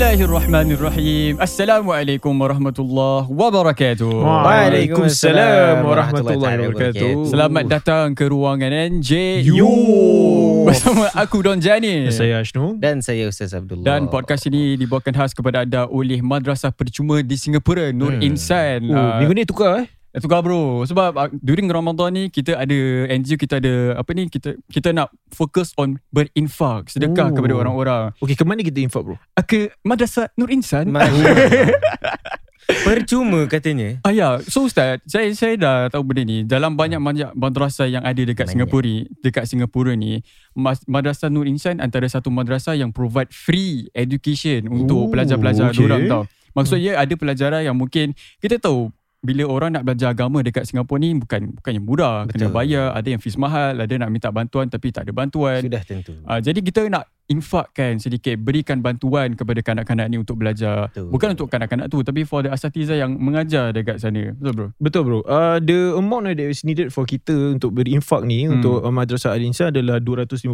Bismillahirrahmanirrahim. Assalamualaikum warahmatullahi wabarakatuh. Waalaikumsalam warahmatullahi wabarakatuh. Selamat datang ke ruangan NJU. You. Bersama aku Don Jani. Saya Ashnu. Dan saya Ustaz Abdullah. Dan podcast ini dibawakan khas kepada anda oleh Madrasah Percuma di Singapura, Nur Hmm. Insan. Oh, Ah, minggu ni tukar eh. Dah tukar bro Sebab uh, during Ramadan ni Kita ada NGO kita ada Apa ni Kita kita nak fokus on Berinfak Sedekah Oh. kepada orang-orang Okey, ke mana kita infak bro? Ah, Ke Madrasah Nur Insan Ma- Percuma katanya. Ah ya, so Ustaz, saya saya dah tahu benda ni. Dalam banyak-banyak madrasah yang ada dekat Banyak. Singapura, ni- dekat Singapura ni, mas- Madrasah Nur Insan antara satu madrasah yang provide free education untuk Ooh, pelajar-pelajar okay. dorang tau. Maksudnya ada pelajaran yang mungkin kita tahu bila orang nak belajar agama dekat Singapura ni bukan bukan yang murah, kena Betul. bayar, ada yang fees mahal, ada nak minta bantuan tapi tak ada bantuan. Sudah tentu. Uh, jadi kita nak infakkan sedikit berikan bantuan kepada kanak-kanak ni untuk belajar. Betul. Bukan untuk kanak-kanak tu tapi for the asatiza yang mengajar dekat sana. Betul bro? Betul bro. Uh, the amount that is needed for kita untuk berinfak ni Hmm. untuk uh, Madrasah Al-Insa adalah 250,000.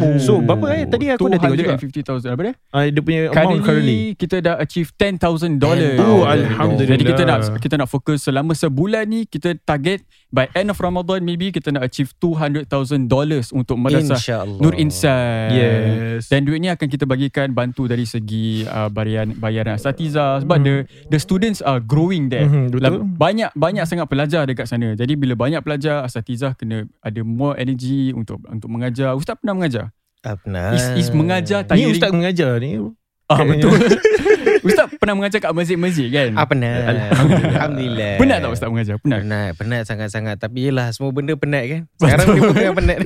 Oh. So, berapa eh? Tadi aku dah tengok juga. 250,000 apa dia? Uh, dia punya amount Currently, currently. kita dah achieve 10,000 dollars. Oh, Alhamdulillah. Jadi kita nak kita nak fokus selama sebulan ni kita target by end of Ramadan maybe kita nak achieve 200,000 dollars untuk madrasah InsyaAllah. Nur Insan. Yes. Dan duit ni akan kita bagikan bantu dari segi uh, bayaran bayaran asatiza sebab the Hmm. the students are growing there. Mhm, betul. Lah- Banyak banyak sangat pelajar dekat sana. Jadi bila banyak pelajar asatiza kena ada more energy untuk untuk mengajar. Ustaz pernah mengajar? Abna. Is is mengajar Ah. Ni tiring. ustaz mengajar ni. ah betul. ustaz pernah mengajar kat masjid-masjid kan? Abna. Alhamdulillah. Alhamdulillah. Penat tak ustaz mengajar? Penat. Penat, penat sangat-sangat. Tapi yelah, semua benda penat kan? Sekarang ni pun tengah penat.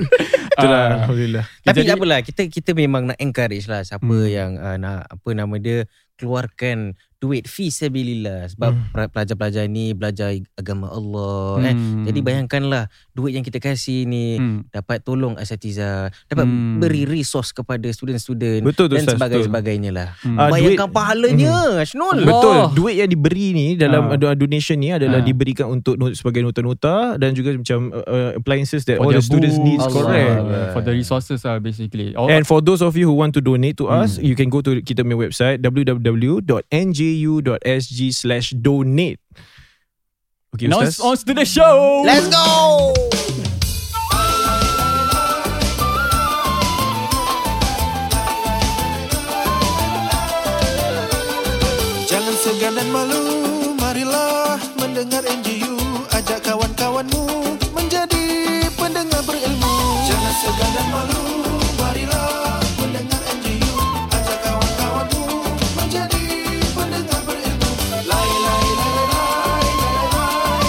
Betul lah. Ah, Alhamdulillah. Tapi Jadi- tak apalah, kita kita memang nak encourage lah siapa Hmm. yang uh, nak, apa nama dia, keluarkan duit fisabilillah. Sebab pra- pelajar-pelajar ni belajar agama Allah. eh. Kan? hmm. Jadi bayangkanlah, duit yang kita kasih ni, Hmm. dapat tolong asatiza dapat Hmm. hmm. beri resource kepada student-student Betul tu dan ustaz. sebagainya betul. sebagainya lah Hmm. Ah, duit- Hmm. bayangkan pahalanya Ashnul Betul. Duit yang diberi ni dalam Oh. Ah. uh, donation ni adalah Ah. diberikan untuk not- sebagai nota-nota dan juga macam uh, uh, appliances that all the their students books, needs Allah. correct. For the resources lah basically. All, And for those of you who want to donate to us, Hmm. you can go to kita punya website www.nju.sg slash donate. Okay, now it's Ustaz. on to the show. let's go Jangan segan dan malu Marilah mendengar NGU Ajak kawan-kawanmu Menjadi pendengar berilmu Jangan segan dan malu Marilah mendengar NGU Ajak kawan-kawanmu Menjadi pendengar berilmu Lai lai lai lai lai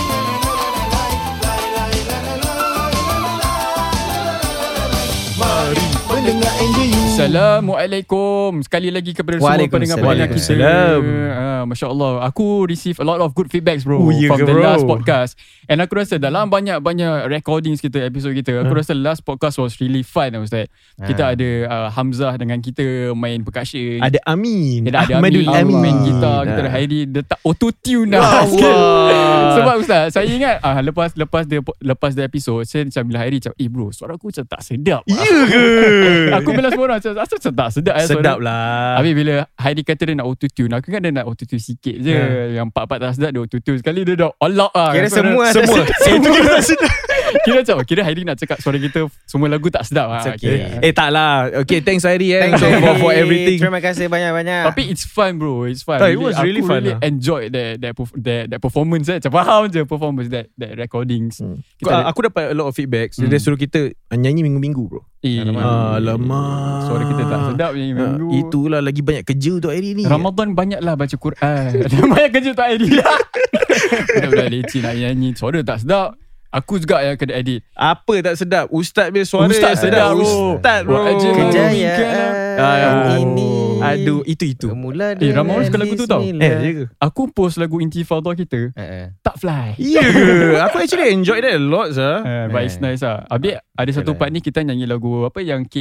lai lai lai lai lai lai lai lai lai lai lai Mari mendengar NGU Assalamualaikum Sekali lagi kepada semua Waalaikumsalam. pendengar-pendengar kita Waalaikumsalam. Ah, Masya Allah Aku receive a lot of good feedbacks bro Oh, ya From ke, the bro? last podcast And aku rasa dalam banyak-banyak recordings kita Episode kita Aku Hmm. rasa last podcast was really fun tau, Ustaz Kita ada ah, Hamzah dengan kita Main percussion ada Amin. Kita ada Ahmadul Amin, Amin main gitar Kita ada Ah. Hairi Letak auto-tune Ya lah Sebab Ustaz Saya ingat ah, Lepas lepas dia lepas dia episod Saya macam bila Hairi macam Eh bro suara aku macam tak sedap lah." Ya ke? Aku bilang semua orang Macam rasa macam tak sedap eh, suara. Sedap lah. Habis bila Heidi kata dia nak auto-tune Aku kan dia nak auto-tune sikit je Ha. Yang part-part tak sedap Dia auto-tune sekali Dia dah all out lah kira So, semua dia- semua Eh, tu kira sedap. Kira macam oh, Kira Heidi nak cakap Suara kita Semua lagu tak sedap lah It's okay. Eh tak lah Okay thanks Airi eh so, for, for everything terima kasih banyak-banyak Tapi it's fun bro It's fun Ah, it was really aku fun really lah. enjoy that, that, perf- that, that performance eh. Macam faham je Performance That that recordings Aku, Kita ada- aku dapat a lot of feedback so Hmm. Dia suruh kita uh, Nyanyi minggu-minggu bro Eh, Alamak. Alamak. Suara kita tak sedap ni Ah, minggu. Itulah lagi banyak kerja untuk Airi ni Ramadan banyaklah baca Quran. Ada banyak kerja tak edit. Budak-budak leceh nak nyanyi. Suara tak sedap. Aku juga yang kena edit. Apa tak sedap Ustaz dia suara Ustaz yang sedap, sedap bro. Ustaz bro Buat aja, bro. Kerja kejayaan Ah, ya. ini Aduh itu itu bermula Eh, Ramon suka lagu tu tau. Eh ya ke Aku post lagu Intifada kita. Eh, Tak fly. Ya ke Aku actually enjoy that a lot sah. Uh, but Eh, it's nice lah. Habis Ah, ada satu part ni kita nyanyi lagu apa yang K...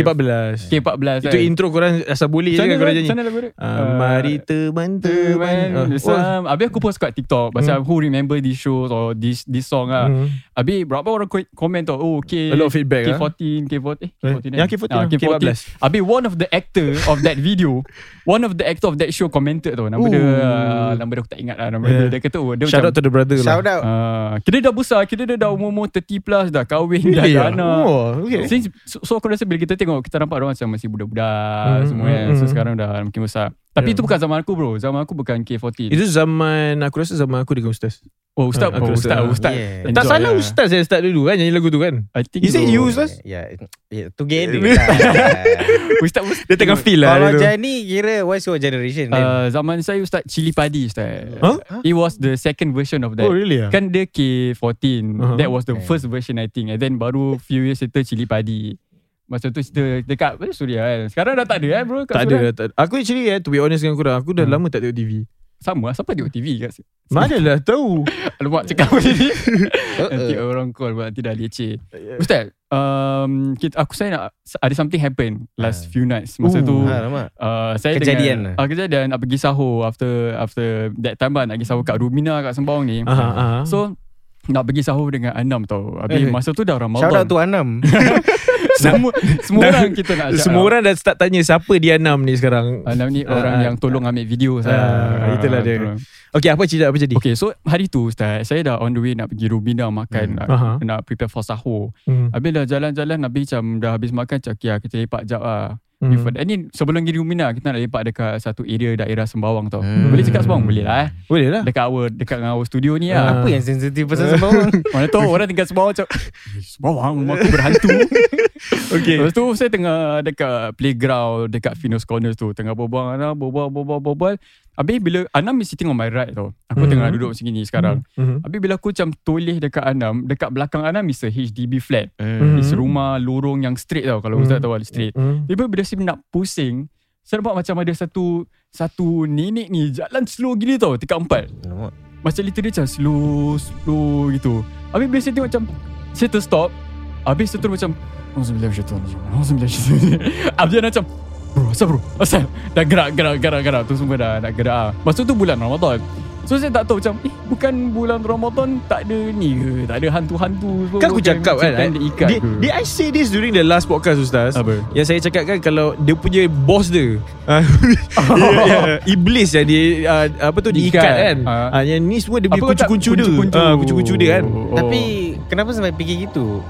K14 K14 Itu intro korang Asal boleh je Sana kan korang lagu- nyanyi sana lagu dia. Ah, Mari teman teman Eh, Teman Ah, Sam Habis aku post kat TikTok Pasal who remember this show Or this this song wah. lah Hmm. Habis berapa orang ko- komen tau Oh K A lot of feedback, ah. K14 K14 eh Eh, K14 yang K14, Ah, K14 K14. Habis one of the actor Of that that video One of the actor of that show Commented tau Nama dia uh, Ooh. Nama dia aku tak ingat lah Nama Yeah. dia Dia kata oh, dia Shout macam out to the brother lah. Shout out. uh, Kira dah besar Kira dia dah umur-umur 30 plus Dah kahwin Dah Really ada ah? anak Oh, okay. Since, so, so aku rasa bila kita tengok Kita nampak orang macam Masih budak-budak Mm, mm, Semua mm, mm, So mm. sekarang dah makin besar Tapi Yeah. itu bukan zaman aku bro Zaman aku bukan K14 Itu zaman Aku rasa zaman aku dengan Ustaz Oh ustaz Aku bro rasa, Ustaz, ah. ustaz Yeah. enjoy Tak salah lah. Ustaz yang start dulu kan Nyanyi lagu tu kan I think Is it so. you Ustaz? Ya, yeah, together lah. Ustaz ustaz Dia tengah feel lah Kalau Eh, dia tu. Ah, Jani kira what's your generation then? Uh, zaman saya Ustaz Cili Padi Ustaz Huh? It was the second version of that Oh really ah? Kan dia K14 Uh-huh. uh-huh. That was the Okay. first version I think And then baru few years later Cili Padi Masa tu cerita dekat eh, Suria kan Sekarang dah tak ada eh bro kat Tak Suria. ada, tak ada. Aku actually eh, To be honest dengan korang Aku dah Hmm. lama tak tengok TV Sama lah Siapa tengok TV kat sini? Mana lah tahu Alamak cakap macam ni Uh, Nanti uh. orang call pula Nanti dah leceh Ustaz um, kita, Aku saya nak Ada something happen Last Ah. few nights Masa Ooh. tu Ha, lama. uh, saya Kejadian dengan, lah. uh, Kejadian Apa pergi sahur After after that time lah Nak pergi sahur kat Rumina Kat Sembawang ni Aha, aha. So nak pergi sahur dengan Anam tau Habis Eh. masa tu dah Ramadan Shout out to Anam. Semua, semua dah- orang kita nak ajak Semua lah. orang dah start tanya Siapa dia enam ni sekarang Anam ni Ah, orang ah. yang tolong ambil video saya Ah, itulah dia. tolong. Okay apa cerita apa jadi Okay so hari tu Ustaz Saya dah on the way nak pergi Rubina makan Hmm. nak, Aha. nak prepare for sahur Hmm, Habis dah jalan-jalan Habis macam dah habis makan Macam okay lah, kita lepak jap lah hmm. Before that- Ni sebelum pergi Rubina Kita nak lepak dekat satu area daerah Sembawang tau Hmm. Boleh cakap Sembawang? Boleh lah eh Boleh lah Dekat our, dekat dengan our studio ni lah Ah. Apa yang sensitif pasal Sembawang? Mana tahu orang tinggal Sembawang macam "Eh, Sembawang rumah aku berhantu Okay Lepas tu saya tengah dekat playground Dekat Finos Corners tu Tengah berbual dengan Anam Berbual berbual berbual Habis bila Anam is sitting on my right tau Aku Mhm. tengah duduk macam ni sekarang Mhm. Habis bila aku macam toleh dekat Anam Dekat belakang Anam is a HDB flat Mhm. Is rumah lorong yang straight tau Kalau Mhm. Ustaz tahu lah, straight Hmm. Tiba bila saya nak pusing Saya nampak macam ada satu Satu nenek ni Jalan slow gila tau Tingkat empat Alamak. macam literally macam slow Slow gitu Habis bila saya tengok macam Saya terstop Habis saya terus macam Alhamdulillah syaitan Alhamdulillah syaitan Habis dia macam Bro asal bro Asal Dah gerak gerak gerak gerak Tu semua dah nak gerak ah. Masa tu bulan Ramadan So saya tak tahu macam Eh bukan bulan Ramadan Tak ada ni ke Tak ada hantu-hantu semua Kan aku Bukan cakap kan setan diikat Did, ke did I say this during the last podcast Ustaz Apa? Yang saya cakap kan Kalau dia punya boss dia ah, ya, ya, Iblis yang dia ah, Apa tu Diikat, Diikat. kan Ah. ah, Yang ni semua dia punya Apa kau tak kuncu-kuncu dia Ah, Kuncu-kuncu dia kan Oh. Tapi kenapa sampai fikir gitu?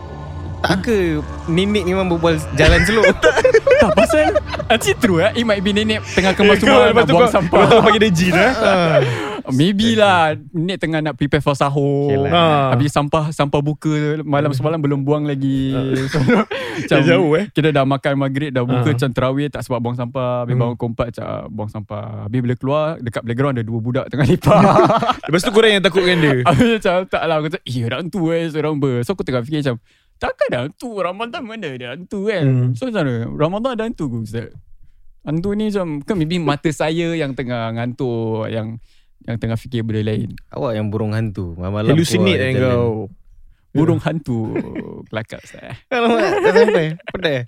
Tak ke nenek memang berbual jalan slow? Tak pasal Actually true eh It might be nenek Tengah kemas rumah Nak buang sampah Lepas tu panggil dia jin eh? Maybe lah Nenek tengah nak prepare for sahur Okay lah. Ah. Habis sampah Sampah buka Malam semalam belum buang lagi So, Macam Dah Ah. jauh, eh? Kita dah makan maghrib Dah buka Ah. macam terawih Tak sebab buang sampah Habis Hmm. bangun kompak Macam ah, buang sampah Habis bila keluar Dekat playground Ada dua budak tengah lepak Lepas tu korang yang takutkan dia Habis macam Tak lah Aku cakap Eh ada hantu eh Seorang ber So aku tengah fikir macam Takkan ada hantu Ramadan mana ada hantu kan Hmm. So macam mana Ramadan ada hantu ke Ustaz Hantu ni macam Kan maybe mata saya Yang tengah ngantuk Yang yang tengah fikir benda lain Awak yang burung hantu. Malam-malam Hallucinate keluar kan jalan. kau Burung hantu Kelakar eh. saya Alamak, tak sampai. Pedas.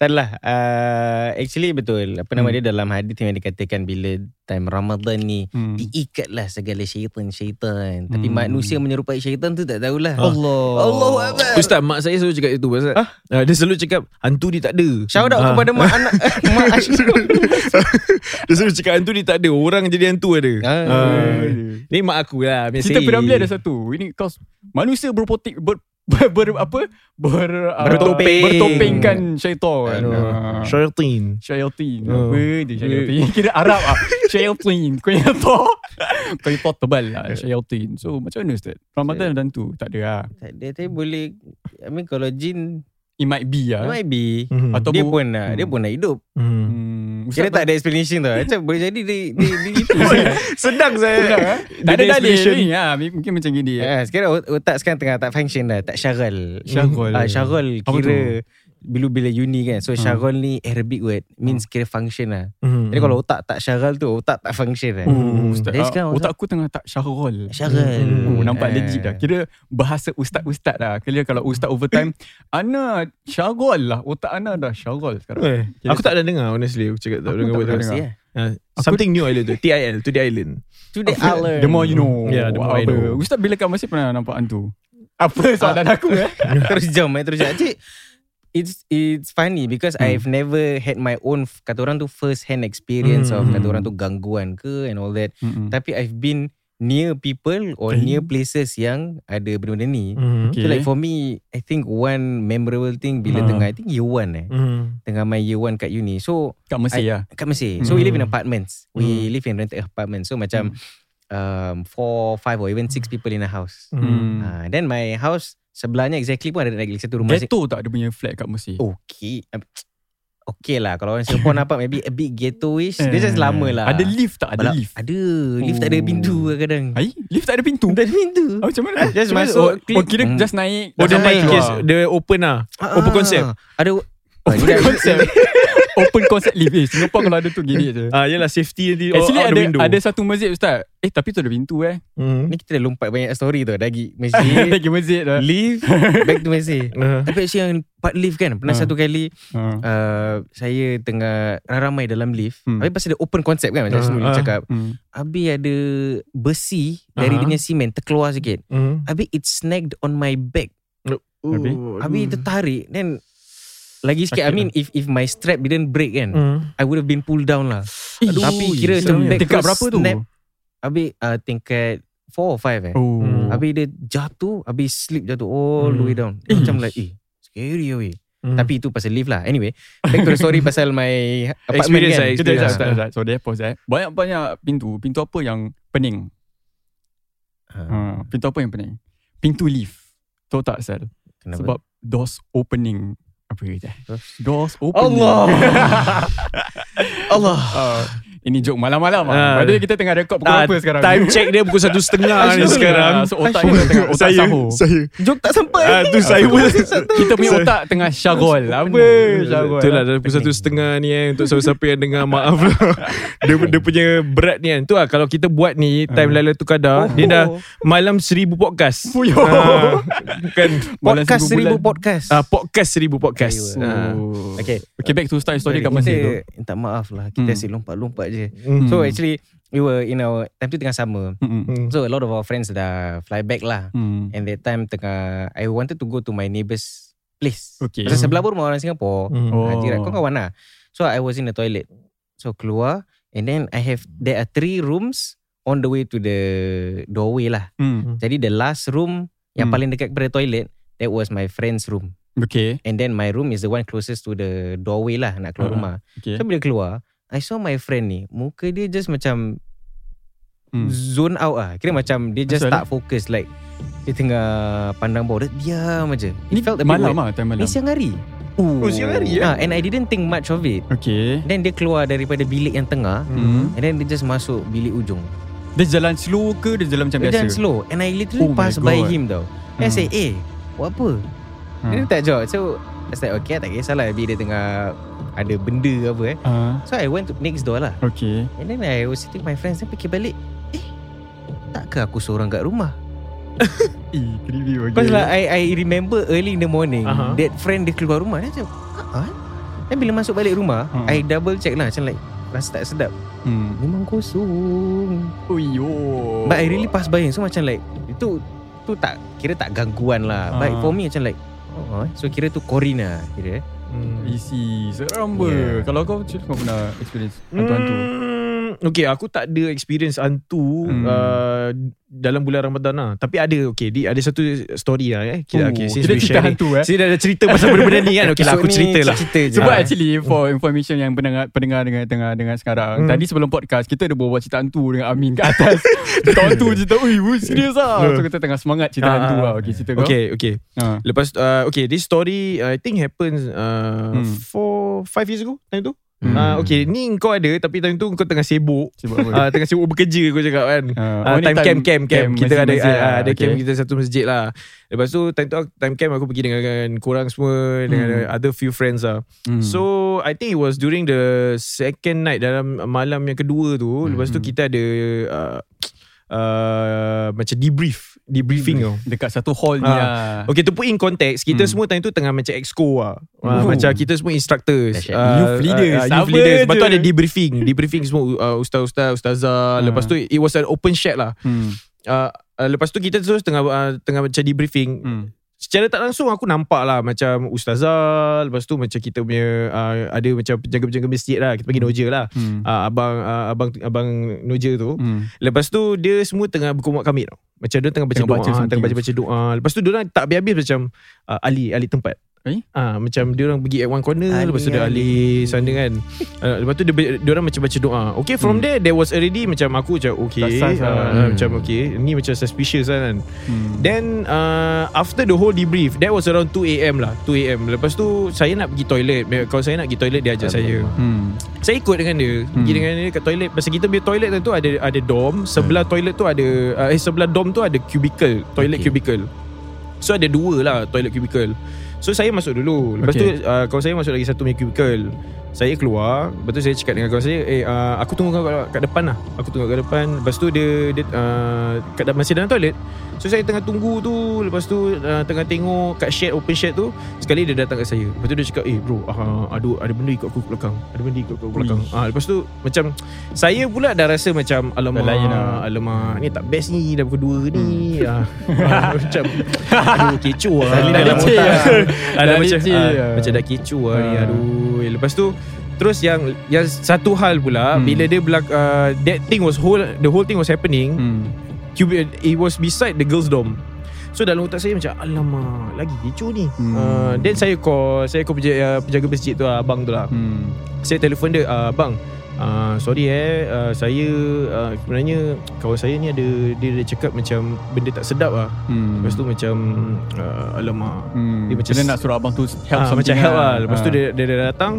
Tak adalah. Uh, actually betul. Apa nama Hmm. dia dalam hadis yang dikatakan bila time Ramadan ni hmm. diikatlah segala syaitan-syaitan. Tapi Hmm. manusia menyerupai syaitan tu tak tahulah. Allah Allahu Oh. Akbar. Ustaz mak saya selalu cakap itu pasal ah? Dia selalu cakap Hantu dia tak ada Shout out Ah. kepada mak anak mak Ashraf. Dia selalu cakap hantu dia tak ada Orang jadi hantu ada Ah. ah. Ni mak aku lah Cerita piramli ada satu Ini kau Manusia berpotik ber, ber, ber apa ber ah, Bertopeng. bertopengkan syaitan Aduh. Ah. Syaitin Syaitin Oh. Apa dia syaitin Kira Arab ah. Syaitin Kau yang tahu Kau yang tahu tebal lah Syaitin So macam mana Ustaz Ramadan dan tu Tak ada lah Tak ada tapi boleh I mean kalau jin It might be huh? lah might be hmm. Atau dia bu- pun nak, Hmm. dia pun nak hidup. hmm. Hmm, Ustaz, Kira tak ada explanation tau. Macam boleh jadi dia dia, dia gitu. Sedang Sedang, saya eh? Tak ada Dia dalil explanation. ni ah, Mungkin macam gini eh. Ha, sekarang ot- otak sekarang tengah tak function dah, tak syagol. Syagol. Ah, syagol Apa kira bila bila uni kan. So Hmm. syagol ni Arabic word means kira function lah. hmm. Jadi kalau otak tak syagol tu otak tak function lah. Oh, Ustaz, Jadi ah, sekarang otak aku tengah tak syarol Syagol. Hmm. Oh, nampak Ah. legit dah. Kira bahasa ustaz-ustaz dah. Kira kalau ustaz overtime, Ana syarol lah. Otak Ana dah syarol sekarang. Eh, aku tak ada dengar honestly Aku cakap Aku tak dengar tak word dengar. tu. Terus, yeah. Ah, Something new island tu TIL To the island To the island. The more you know. Yeah, Hmm. Ya, the more I Apa. know. Ustaz Ah. bila kan masih pernah nampak hantu? Apa soalan aku eh? terus jam eh terus jam. Cik it's it's funny because Hmm. mm. I've never had my own f- kata orang tu first hand experience mm. Hmm. of kata orang tu gangguan ke and all that. Mm-mm. Mm. Tapi I've been near people or Okay. near places yang ada benda-benda Mm. ni. Mm. Eh? Okay. So like for me, I think one memorable thing Ah. bila tengah I think year one eh. Mm. Tengah main year one kat uni. So Kat Mesir lah. kat Mesir. So we live in Hmm. apartments. We Mm. live in rented apartments. So macam um, four, five or even six people in a house. Mm. Hmm. Uh, then my house sebelahnya exactly pun ada lagi satu rumah. Ghetto tak dia punya flat kat Mesir? Oh, Okay. Okay lah kalau orang Singapore nampak maybe a bit ghettoish. Dia just Hmm. lama lah. Eh, Ada lift tak? Ada Balak- lift? Ada. Lift tak ada Oh. pintu kadang-kadang. Hai? Lift tak ada pintu? Tak ada pintu. Ah, macam mana? Eh, Just Macam mana? masuk, Oh, Oh, click. kira Hmm. just naik. dah Oh, dia sampai main Ah. case. keluar. Dia open lah. Open Oh, Ah, concept. Ada. Open concept. Open concept lift. Eh, Singapore kalau ada tu gini je. Ah, yelah safety nanti all Actually out ada the window. ada satu masjid ustaz. Eh tapi tu ada pintu eh. Mm. Ni kita dah lompat banyak story tu. Lagi Mesir. Lagi masjid dah. Leave Back to Mesir Ah. Tapi actually yang part lift kan Pernah Ah. satu kali Ah. uh, saya tengah ramai dalam lift. Hmm. Hmm. Habis pasal dia open concept kan macam Ah, uh, Sunul ah. cakap. Hmm. Habis ada besi dari Ah. dia punya semen terkeluar sikit. Mm. Habis it snagged on my back. Habis? Oh, Habis aduh. tertarik then lagi Sakit sikit I mean lah. if if my strap didn't break kan Mm. I would have been pulled down lah. Eh, Tapi ui, kira macam back Tingkat terus berapa tu? snap. Habis uh, tingkat 4 or 5 eh. Oh. Oh. Hmm. Habis dia jatuh, habis slip jatuh all the Hmm. way down. Eh. Macam like eh scary weh. Mm. Tapi itu pasal lift lah. Anyway, back to the story pasal my apartment Experience kan. lah, Kita experience tak lah. tak tak. So dia pause eh. Banyak-banyak pintu. Pintu apa yang pening? Ha, Ha, pintu apa yang pening? Pintu lift. Tahu tak Sal? kenapa? Sebab doors opening apa kata? Doors. Doors opening. Allah. Allah. Ah, ini joke malam-malam ah. Ah. Padahal kita tengah rekod pukul Ah, berapa sekarang? Time check dia pukul satu setengah ni Asyik lah. sekarang. So otak kita tengah otak saya, sahur. saya. Jok tak sampai. Ah, tu saya pun. Kita punya Saya- otak tengah syagol. Apa syagol? Itulah dah lah, pukul satu setengah ni eh Untuk siapa-siapa yang dengar Maaf lah dia, dia punya berat ni kan Tu lah kalau kita buat ni Time Laila tu kadar ah, Dia dah Oh, Malam seribu podcast Fuyoh. Ah, Bukan Malam podcast seribu bulan. podcast. ah, Podcast seribu podcast Ayuh. Ah. Oh. Okay. Okay back to style story kat Kita- Mesir tu. Minta maaf lah. Kita Hmm. asyik lompat-lompat je. Mm. So actually, we were in our, time tu tengah summer. Mm-mm. Mm. So a lot of our friends dah fly back lah. Mm. And that time tengah, I wanted to go to my neighbour's place. Okay. Pasal sebelah pun rumah orang Singapore. Mm. Oh. Oh. Jiran, kau kawan lah. So I was in the toilet. So keluar. And then I have, there are three rooms on the way to the doorway lah. Mm. Jadi the last room yang Hmm. paling dekat kepada toilet, that was my friend's room. Okay. And then my room is the one closest to the doorway lah nak Ah, keluar rumah. Okay. So bila keluar, I saw my friend ni, muka dia just macam Mm. zone out ah. Kira macam dia just Asal? tak fokus like dia tengah pandang bawah, dia diam aje. Ni It felt a bit malam weird. ah, time Ni malam. Ya. siang hari. Oh, siang hari, eh? Ah, and I didn't think much of it. Okay. Then dia keluar daripada bilik yang tengah Mm. and then dia just masuk bilik ujung. Dia jalan slow ke dia jalan macam Dia biasa? jalan slow and I literally Oh my pass by God. him tau. Then I Hmm. say, "Eh, buat apa?" Hmm. Dia tak jawab So I was like okay tak kisahlah Maybe dia tengah Ada benda ke apa eh Ah, So I went to next door lah okay. And then I was sitting with my friends Then fikir balik Eh Takkah aku seorang kat rumah Eh, creepy bagi. Because like I, I remember early in the morning Aha. uh-huh. That friend dia keluar rumah Dia macam ah, ah?" Then bila masuk balik rumah Hmm. I double check lah Macam like Rasa tak sedap Hmm. Memang kosong Oh, yo. But I really pass by So macam like Itu Tu tak Kira tak gangguan lah But Ah. for me macam like oh, So kira tu Corin lah Kira eh Mm. Isi Seram ber yeah. Yeah. Kalau kau macam mana kau pernah Experience hantu-hantu mm. Hmm, Okay aku tak ada experience hantu Hmm. hmm. uh, Dalam bulan Ramadan lah Tapi ada okay di, Ada satu story lah eh Kita, okay, since Kita we cerita sharing- hantu eh Saya dah ada cerita pasal benda-benda ni kan Okay lah aku Episode ni cerita lah Cerita je sebab Ah. actually for information yang pendengar pendengar dengan tengah dengan sekarang Hmm. tadi sebelum podcast kita ada berbual cerita hantu dengan Amin kat atas cerita hantu cerita ui ui, serius ah so kita tengah semangat cerita Ah, hantu ah, lah okay cerita kau Okay okay ha. Lepas uh, Okay this story uh, I think happens uh, Hmm. Four Five years ago Time tu Hmm. uh, Okay ni kau ada Tapi time tu kau tengah sibuk Sibuk uh, apa Tengah sibuk bekerja kau cakap kan Ah, Ah, oh, ni time, camp, camp, camp. Kita ada masjid-masjid ah, lah. ada camp Okay. kita satu masjid lah. Lepas tu time tu aku- time camp aku pergi dengan korang semua dengan other few friends lah. Hmm. So I think it was during the second night dalam malam yang kedua tu. Lepas tu Hmm. kita ada uh, uh, macam debrief, debriefing tau. dekat satu hall ni Ah. lah Okay to put in context Kita Hmm. semua time tu Tengah macam exco lah uh, Oh. Macam kita semua instructors Dahsyat. Youth leaders, uh, Youth sama leaders je. Lepas tu ada debriefing Debriefing semua uh, Ustaz-ustaz Ustazah Ah. Lepas tu It was an open chat lah hmm. ah, uh, uh, Lepas tu kita terus Tengah uh, tengah ah, macam debriefing Hmm. secara tak langsung aku nampak lah macam ustazah lepas tu macam kita punya uh, ada macam penjaga-penjaga masjid lah kita panggil noja lah Hmm. uh, abang uh, abang abang noja tu Hmm. lepas tu dia semua tengah berkumat kami tau macam dia tengah baca Tengah doa baca something. tengah baca baca doa lepas tu dia orang tak habis-habis macam uh, ali ali tempat Eh? Ah, macam dia orang pergi at one corner Ali, ali, lepas tu dia ali, Ali. sana kan. Ah, lepas tu dia, dia orang macam baca doa. Okay from Hmm. there there was already macam aku macam okay Tak sah, sah. ah, Hmm. macam okay ni macam suspicious lah kan. Hmm. Then uh, after the whole debrief That was around 2am lah 2am Lepas tu saya nak pergi toilet Kalau saya nak pergi toilet dia ajak saya Hmm. Saya ikut dengan dia hmm. Pergi Hmm. dengan dia kat toilet Pasal kita punya toilet tu ada ada dorm Sebelah toilet tu ada uh, Eh sebelah dorm tu ada cubicle Toilet Okay. okay. cubicle So ada dua lah toilet cubicle So saya masuk dulu Lepas Okay. tu uh, kawan saya masuk lagi satu punya cubicle Saya keluar Lepas tu saya cakap dengan kawan saya Eh uh, aku tunggu kau kat, kat depan lah Aku tunggu kat depan Lepas tu dia, dia uh, kat, dalam- Masih dalam toilet So saya tengah tunggu tu Lepas tu uh, tengah tengok kat shed open shed tu Sekali dia datang kat saya Lepas tu dia cakap Eh bro uh, ada, ada benda ikut aku kat belakang Ada benda ikut aku kat belakang Ui. uh, Lepas tu macam Saya pula dah rasa macam Alamak lain lah. Alamak Ni tak best ni Dah pukul 2 ni Ah, ah, Macam Aduh kecoh lah Sekali dah leceh lah. Ah, Dah dah macam, leceh ah, lah. macam dah kecoh lah ni Ah. Aduh Lepas tu Terus yang yang satu hal pula Hmm. bila dia belak uh, that thing was whole the whole thing was happening Hmm. Cuba It was beside the girls dorm So dalam otak saya macam Alamak Lagi kecoh ni Hmm. hmm. uh, Then saya call Saya call penjaga, penjaga masjid tu lah, Abang tu lah Hmm. Saya telefon dia uh, Abang uh, Sorry eh uh, Saya uh, Sebenarnya Kawan saya ni ada Dia ada cakap macam Benda tak sedap lah Hmm. Lepas tu macam uh, Alamak Hmm. Dia macam- Dia nak suruh abang tu help Ah, something Macam help lah Lepas tu Ah. dia, dia dah datang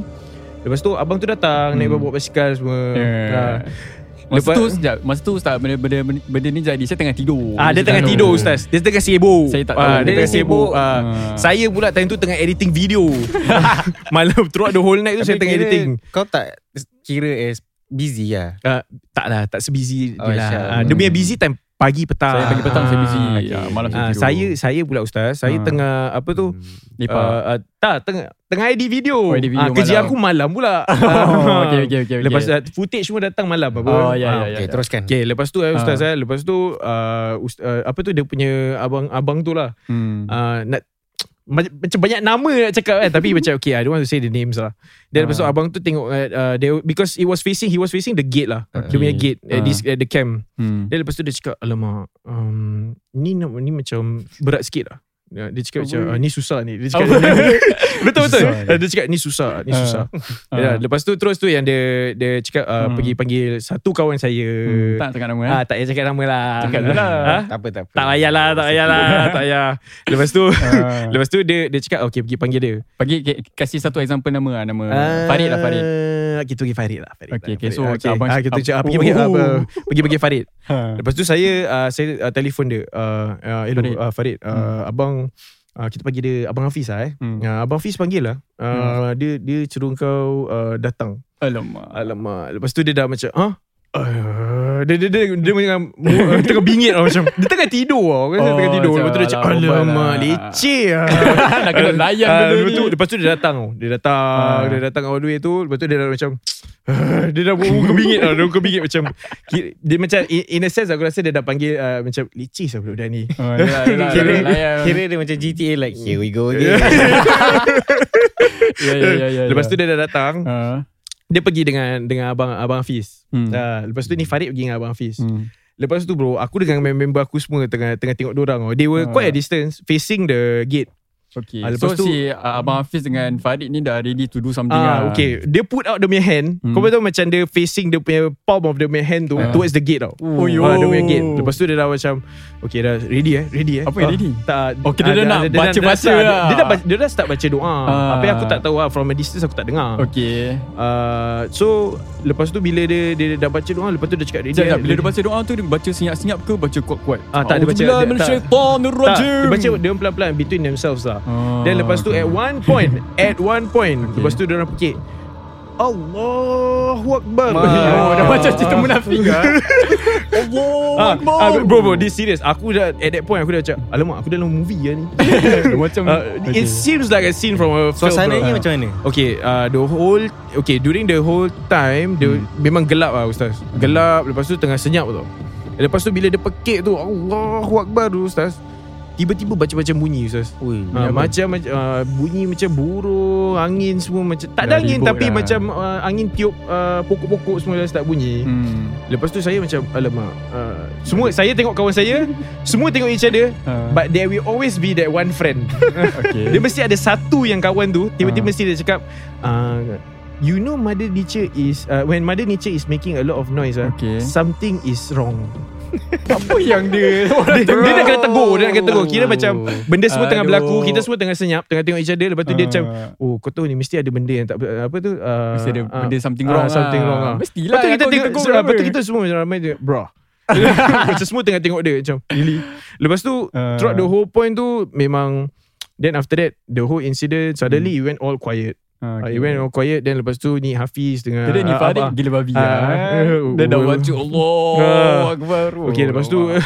Lepas tu abang tu datang Naik Hmm. bawa basikal semua Ah. Yeah. Masa Lepas- tu sekejap Masa tu ustaz benda, benda, benda, benda ni jadi Saya tengah tidur Ah, dia Saya tengah tak tidur tahu. ustaz. Dia tengah sibuk. Saya tak tahu. Ah, dia, Dia tengah sibuk. sibuk. Ah. Ah. Saya pula time tu tengah editing video. Malam throughout the whole night tu saya tengah kira editing. Kau tak kira as busy lah Ah, tak lah, tak sebusy dia Oh, lah. insya- Ah, dia punya busy time pagi petang. Saya pagi petang saya Ah, busy okay. Ah, Malam saya Ah, tidur saya saya pula ustaz, saya Ah. tengah apa tu? Lepak Uh, uh, tak tengah tengah edit Oh, video. edit video Ah, kerja malam. aku malam pula. Ah, Oh, okay, okay, okay, okay. Lepas uh, footage semua datang malam apa. Oh ya Ah, ya ya Okay ya. teruskan Okay lepas tu eh, ustaz Ah. eh, lepas tu uh, ust, uh, apa tu dia punya abang abang tu lah Hmm. uh, nak ma- macam banyak nama nak cakap kan tapi macam okay I don't want to say the names lah Ah. then lepas tu abang tu tengok uh, uh, they, because it was facing he was facing the gate lah Okay. dia punya gate Ah. at, this, at the camp Hmm. then lepas tu dia cakap alamak um, ni, nak- ni macam berat sikit lah Ya, dia cakap macam Apa? ah, ni susah ni dia cakap betul betul Susah ni. dia cakap ni susah ni Ah. susah Ah. Ya, lepas tu terus tu yang dia dia cakap ah, Hmm. pergi panggil satu kawan saya Hmm, Tak cakap nama eh. ah tak payah cakap nama lah Cakap je lah. Ah? Tak apa tak apa tak payahlah tak payahlah tak payah lepas tu Ah. Lepas tu dia dia cakap okay pergi panggil dia. Bagi ke- kasih satu example nama lah Nama Farid lah Farid Kita Ah. pergi Farid lah Farid. Okay, lah, okay. Farid. So, okay. abang- ah, kita ab- cakap ah, pergi pergi Oh. apa pergi pergi Farid. Ha. Lepas tu saya uh, saya uh, telefon dia. Uh, uh, hello Farid. Farid, uh, Farid uh, abang uh, kita panggil dia abang Hafiz lah eh. Hmm. Uh, abang Hafiz panggil lah. Uh, Dia dia suruh kau uh, datang. Alamak Alamak Lepas tu dia dah macam Huh? Uh, dia, dia, dia, dia macam Tengah bingit lah macam Dia tengah tidur lah Kan Oh, oh, tengah tidur macam Lepas tu dia cakap alamak, Alamak lah." leceh lah Nak kena layan Ah, benda lepas ni. tu, Lepas tu dia datang tau. Dia datang Ah. Dia datang all the way tu Lepas tu dia dah macam "Ah," Dia dah muka bingit lah Dia muka bingit macam ki- Dia macam in, in a sense aku rasa dia dah panggil uh, Macam leceh lah budak Ah, ni yelah, yelah, Kira, yelah, layan. kira dia macam GTA like Here we go again Ya, ya, ya, ya, Eh, Lepas ya. tu dia dah datang Ah. Dia pergi dengan dengan abang abang Hafiz Hmm. Ah, Lepas tu ni Farid pergi dengan abang Hafiz Hmm. Lepas tu bro Aku dengan member aku semua Tengah tengah tengok dorang oh. They were Ah. quite a distance Facing the gate Okay. Ah, so lepas tu- si ah, Abang Hafiz dengan Farid ni dah ready to do something Ah, lah. Okay Dia put out the punya hand Hmm. Kau tahu macam dia facing The punya palm of the punya hand tu Ah. Towards the gate tau Oh, yo. Ah, Dia punya gate Lepas tu dia dah macam Okay dah ready eh Ready eh Apa yang Ah, ready? tak, Oh, kira ah, dia nak dah- dah- baca-baca dah start- lah. Dia dah baca- dia dah start baca doa Ah. Apa yang aku tak tahu lah From a distance aku tak dengar Okay. Ah, So Lepas tu bila dia Dia dah baca doa Lepas tu dia cakap ready Sekejap, eh, sekejap. Bila dia ready. baca doa tu, dia baca senyap-senyap ke baca kuat-kuat? Ah, tak, dia baca- A'udzubillah dia- tak. tak, minasyaitanirrajim. dia baca dia orang pelan-pelan between themselves lah. Ah, Then lepas tu okay. at one point At one point Okay. Lepas tu diorang fikir Allahu Akbar Oh, dah macam cerita munafik lah. ah, Allah, ah, Bro bro This serious Aku dah At that point aku dah macam Alamak aku dalam movie lah ni Macam... Ah, It seems like a scene from a film bro. Suasananya Ah. macam mana Okay uh, The whole Okay during the whole time dia Memang gelap lah Ustaz Gelap Lepas tu tengah senyap tu Lepas tu bila dia pekik tu Allahu Akbar tu Ustaz Tiba-tiba macam-macam bunyi Ustaz Ui, Ha, macam macam, uh, bunyi macam burung, angin semua macam tak ada Dah angin ribut tapi dah. macam uh, angin tiup uh, pokok-pokok semua dah start bunyi. Hmm. Hmm. Lepas tu saya macam alamak. Uh, semua saya tengok kawan saya, semua tengok each other Uh, but there will always be that one friend. okay. Dia mesti ada satu yang kawan tu Tiba-tiba Ah. mesti dia cakap uh, You know mother nature is uh, When mother nature is making a lot of noise uh, Okay. Something is wrong apa yang dia dia, dia, dia nak kena tegur Dia nak kena tegur Kira Oh. macam Benda semua tengah Aduh. Ah. berlaku Kita semua tengah senyap Tengah tengok each other Lepas tu dia macam Oh kau tahu ni mesti ada benda yang tak ber- Apa tu uh, Mesti ada ah, benda something ah, wrong Something lah. wrong lah Mestilah Lepas tu kita kau tengok ditegur so, Lepas tu kenapa? kita semua macam ramai dia, Bro Macam semua tengah tengok dia Macam really Lepas tu Ah. Throughout the whole point tu Memang Then after that The whole incident Suddenly it went all quiet Ah, Hmm. okay. okay. It went all quiet Then lepas tu ni Hafiz dengan Kira ni ah, Farid Abah. gila babi Ah, lah. kan? eh, Dia dah oh. wajib Allah Ah. Akbar. oh, Okay lepas tu Allah.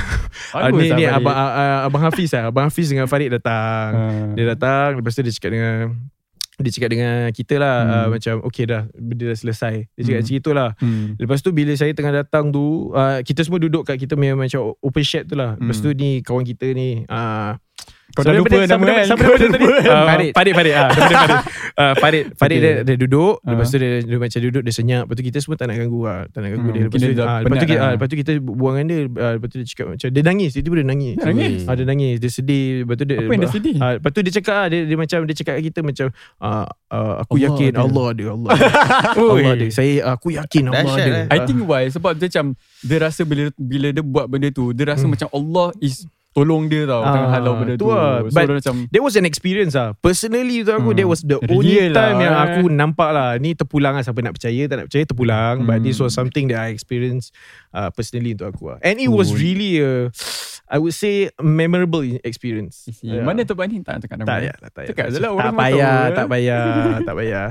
ah, Bagus Ni, lah ni Farid. abang, ah, ah, abang Hafiz lah Abang Hafiz dengan Farid datang Ah. Dia datang Lepas tu dia cakap dengan Dia cakap dengan kita lah Hmm. ah, Macam okay dah Benda dah selesai Dia cakap Hmm. macam itulah Hmm. Lepas tu bila saya tengah datang tu uh, Kita semua duduk kat kita punya macam open shed tu lah Lepas tu ni kawan kita ni uh, Hmm. Kau dah lupa nama kan? Siapa Kau nama dia dah tadi? lupa. Ah, Farid. Farid Farid ah, nama dia Farid Ah, Farid Farid Okay. dia, dia duduk Ah. Lepas tu dia, dia macam duduk Dia senyap Lepas tu kita semua tak nak ganggu lah Tak nak ganggu Hmm, dia Lepas tu, mungkin dia dah ah, lepas, tu penat kita, lah. ah, lepas tu kita buang dengan dia ah, Lepas tu dia cakap macam Dia nangis Tiba-tiba dia nangis Dia nangis? Ah, Dia nangis Dia sedih Lepas tu dia Apa yang dah sedih? Ah, lepas tu dia cakap ah, dia, dia macam Dia cakap kat kita macam ah, ah, Aku Allah yakin ada. Allah ada Allah ada Allah ada Saya aku yakin Allah Dahsyat, ada eh? I think why sebab dia macam dia rasa bila bila dia buat benda tu dia rasa Hmm. macam Allah is tolong dia tau tengah Ah, halau benda tu tu. lah. So But- dia macam There was an experience lah Personally tu aku Hmm. That was the Real only lah, time Yang eh. aku nampak lah Ni terpulang lah Siapa nak percaya Tak nak percaya terpulang But Hmm. this was something That I experienced uh, Personally untuk aku lah And it was Cool. really a, I would say Memorable experience yeah. mana tempat ni tak nak cakap nama. Ya. tak ya. payah, tak payah. Cakap je lah, orang tak pun payah, tahu, eh. tak payah, tak payah.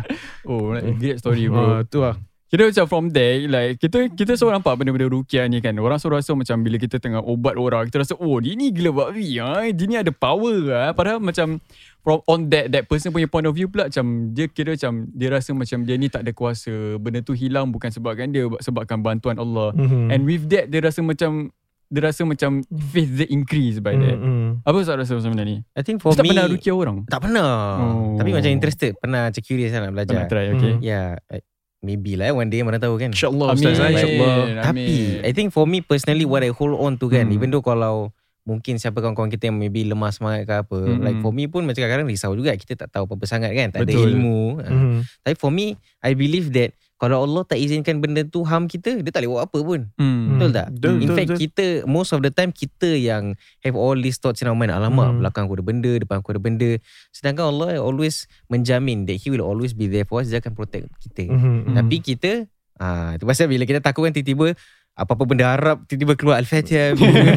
Oh, like, great story bro. Ah, tu lah. Kira macam from there like kita kita selalu nampak benda-benda rukiah ni kan. Orang selalu rasa macam bila kita tengah obat orang kita rasa oh dia ni gila babi ah. Dia ni ada power ah. Padahal macam from on that that person punya point of view pula macam dia kira macam dia rasa macam dia ni tak ada kuasa. Benda tu hilang bukan sebabkan dia sebabkan bantuan Allah. Mm-hmm. And with that dia rasa macam dia rasa macam faith dia increase by that. Mm-hmm. Apa Ustaz rasa macam mana ni? I think for Ustaz tak me pernah rukia orang? Tak pernah Oh. Tapi macam interested Pernah macam curious lah nak Tak nak belajar try, okay. Mm. Ya yeah, Maybe lah eh, One day mana tahu kan InsyaAllah Ustaz Amin. InsyaAllah Tapi I think for me personally What I hold on to kan Hmm. Even though kalau Mungkin siapa kawan-kawan kita Yang maybe lemah semangat ke apa Hmm. Like for me pun Macam kadang-kadang risau juga Kita tak tahu apa-apa sangat kan Tak Betul. ada ilmu Ah, Mhm. Tapi for me I believe that Kalau Allah tak izinkan benda tu Harm kita Dia tak boleh buat apa pun Hmm. Betul tak? Betul, In betul, fact betul. kita Most of the time Kita yang Have all these thoughts in our mind Alamak Hmm. belakang aku ada benda Depan aku ada benda Sedangkan Allah always Menjamin That he will always be there for us Dia akan protect kita Mhm. Tapi kita ah Itu pasal bila kita takut kan Tiba-tiba Apa-apa benda Arab Tiba-tiba keluar Al-Fatihah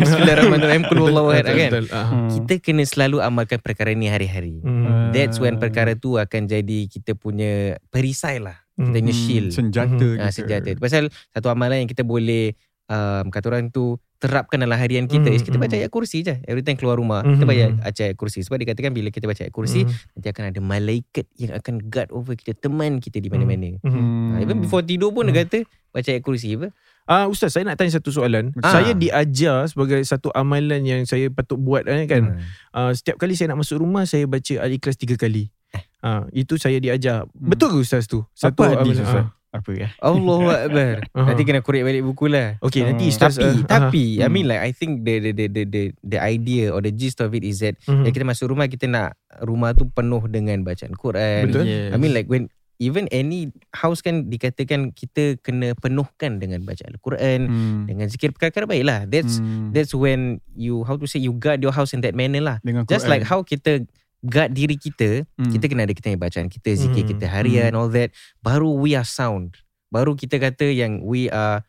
Bismillahirrahmanirrahim Kul Allah Betul, ahad, kan betul, ah. Hmm. Kita kena selalu amalkan perkara ni hari-hari Mhm. That's when perkara tu akan jadi Kita punya Perisai lah Kita punya Hmm, shield Senjata Ah, senjata. Itu Pasal satu amalan yang kita boleh um, kata orang tu terapkan dalam harian kita Mm, is kita mm. baca ayat kursi je. Every time keluar rumah, Mm, kita baca mm. ayat ayat kursi. Sebab dikatakan bila kita baca ayat kursi, Mhm. nanti akan ada malaikat yang akan guard over kita, teman kita di mana-mana. Mhm. Hmm. Ha, even before tidur pun dia kata baca ayat kursi apa? Ah uh, ustaz saya nak tanya satu soalan. Ah. Saya diajar sebagai satu amalan yang saya patut buat eh, kan. Ha. Ah setiap kali saya nak masuk rumah saya baca al-ikhlas tiga kali. Eh. Ah itu saya diajar. Hmm. Betul ke ustaz tu? Satu amalan- hadis ah. Ustaz? Apa ya? Allahu akbar. Aha. Nanti kena korek balik buku lah. Okey nanti Ah. ustaz tapi ah, tapi I Hmm. mean like I think the the the the the, the idea or the gist of it is that ah. Mhm. bila kita masuk rumah kita nak rumah tu penuh dengan bacaan Quran, Betul. Yes. I mean like when even any house kan dikatakan kita kena penuhkan dengan baca Al-Quran, Hmm. dengan zikir perkara-perkara baik lah. That's Hmm. that's when you how to say you guard your house in that manner lah. Dengan Just like how kita guard diri kita, Hmm. kita kena ada kita punya bacaan kita, zikir Hmm. kita harian all that. Baru we are sound. Baru kita kata yang we are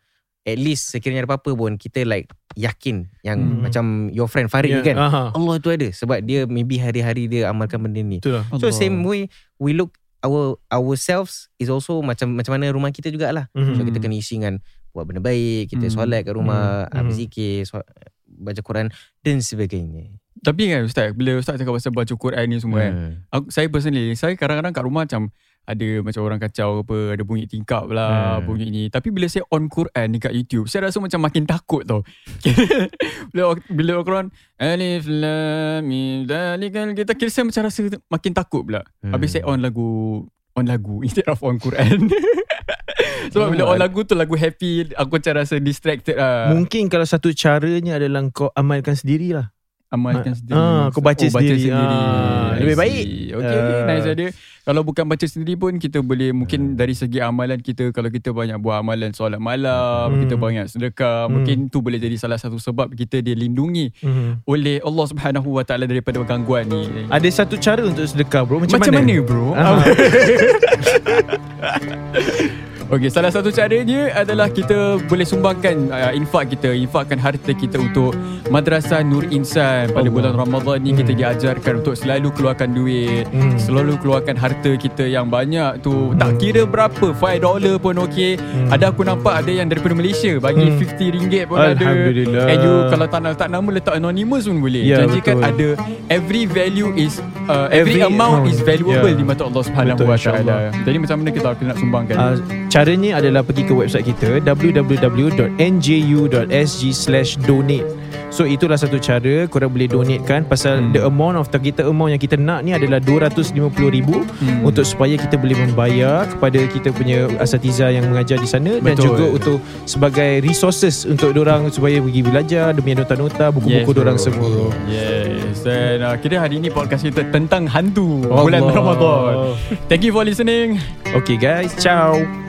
at least sekiranya ada apa-apa pun kita like yakin yang Hmm. macam your friend Farid Ya, ni kan. aha. Allah tu ada sebab dia maybe hari-hari dia amalkan benda ni. Betul lah. So same way we look our ourselves is also macam macam mana rumah kita jugalah. Mhm. So kita kena isi dengan buat benda baik, kita Hmm. solat kat rumah, Hmm. habis Mhm. Hmm. zikir, so, baca Quran dan sebagainya. Tapi kan Ustaz Bila Ustaz cakap pasal baca Quran ni semua kan Hmm. aku, Saya personally Saya kadang-kadang kat rumah macam ada macam orang kacau apa, ada bunyi tingkap lah, Hmm. bunyi ni. Tapi bila saya on Quran dekat YouTube, saya rasa macam makin takut tau. bila bila Quran Alif Lam Mim Dalikal kita kira saya macam rasa makin takut pula. Hmm. Habis saya on lagu on lagu instead of on Quran. Sebab bila on lagu tu lagu happy, aku macam rasa distracted Ah. lah. Mungkin kalau satu caranya adalah kau amalkan sendirilah. amalkan Ah, sendiri. ah, kau baca oh, baca sendiri. sendiri. Ah, I lebih see. baik. Okay, okay, Ah. Hmm. nice idea. Kalau bukan baca sendiri pun kita boleh mungkin dari segi amalan kita kalau kita banyak buat amalan solat malam, Hmm. kita banyak sedekah, Hmm. mungkin tu boleh jadi salah satu sebab kita dilindungi Hmm. oleh Allah Subhanahu Wa Taala daripada gangguan ni. Ada satu cara untuk sedekah bro. Macam, Macam mana, bro? Ah. Okey, salah satu caranya adalah kita boleh sumbangkan uh, infak kita, infakkan harta kita untuk Madrasah Nur Insan. Pada Allah. bulan Ramadan ni kita diajarkan untuk selalu keluarkan duit, Hmm. selalu keluarkan harta kita yang banyak tu. Tak kira berapa, 5 dolar pun okey. Ada aku nampak ada yang daripada Malaysia bagi Hmm. RM50 pun ada. Alhamdulillah. And you kalau tak nak tak nama letak anonymous pun boleh. Ya, Janjikan ada betul. every value is uh, every, Every amount amount. is valuable Ya. di mata Allah Subhanahu Betul, Wa insyaAllah. Taala. Jadi macam mana kita kita nak sumbangkan? Uh, caranya adalah pergi ke website kita www.nju.sg donate So itulah satu cara korang boleh donatekan pasal Hmm. the amount of kita amount yang kita nak ni adalah 250,000 Hmm. untuk supaya kita boleh membayar kepada kita punya asatiza yang mengajar di sana dan Betul. juga untuk sebagai resources untuk dorang supaya pergi belajar demi nota-nota buku-buku bro. dorang semua. Bro. Yes Dan uh, kira hari ni podcast kita tentang hantu Bulan Ramadan Thank you for listening Okay guys, ciao.